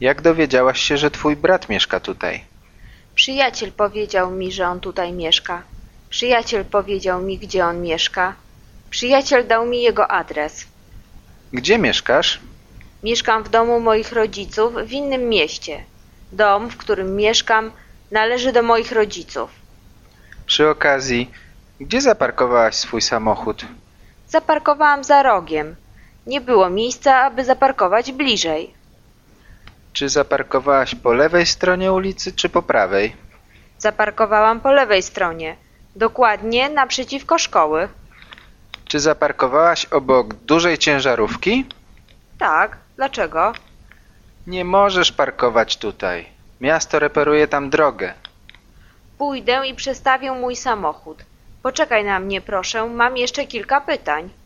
Jak dowiedziałaś się, że twój brat mieszka tutaj? Przyjaciel powiedział mi, że on tutaj mieszka. Przyjaciel powiedział mi, gdzie on mieszka. Przyjaciel dał mi jego adres. Gdzie mieszkasz? Mieszkam w domu moich rodziców w innym mieście. Dom, w którym mieszkam, należy do moich rodziców. Przy okazji, gdzie zaparkowałaś swój samochód? Zaparkowałam za rogiem. Nie było miejsca, aby zaparkować bliżej. Czy zaparkowałaś po lewej stronie ulicy czy po prawej? Zaparkowałam po lewej stronie, dokładnie naprzeciwko szkoły. Czy zaparkowałaś obok dużej ciężarówki? Tak, dlaczego? Nie możesz parkować tutaj. Miasto reperuje tam drogę. Pójdę i przestawię mój samochód. Poczekaj na mnie, proszę, mam jeszcze kilka pytań.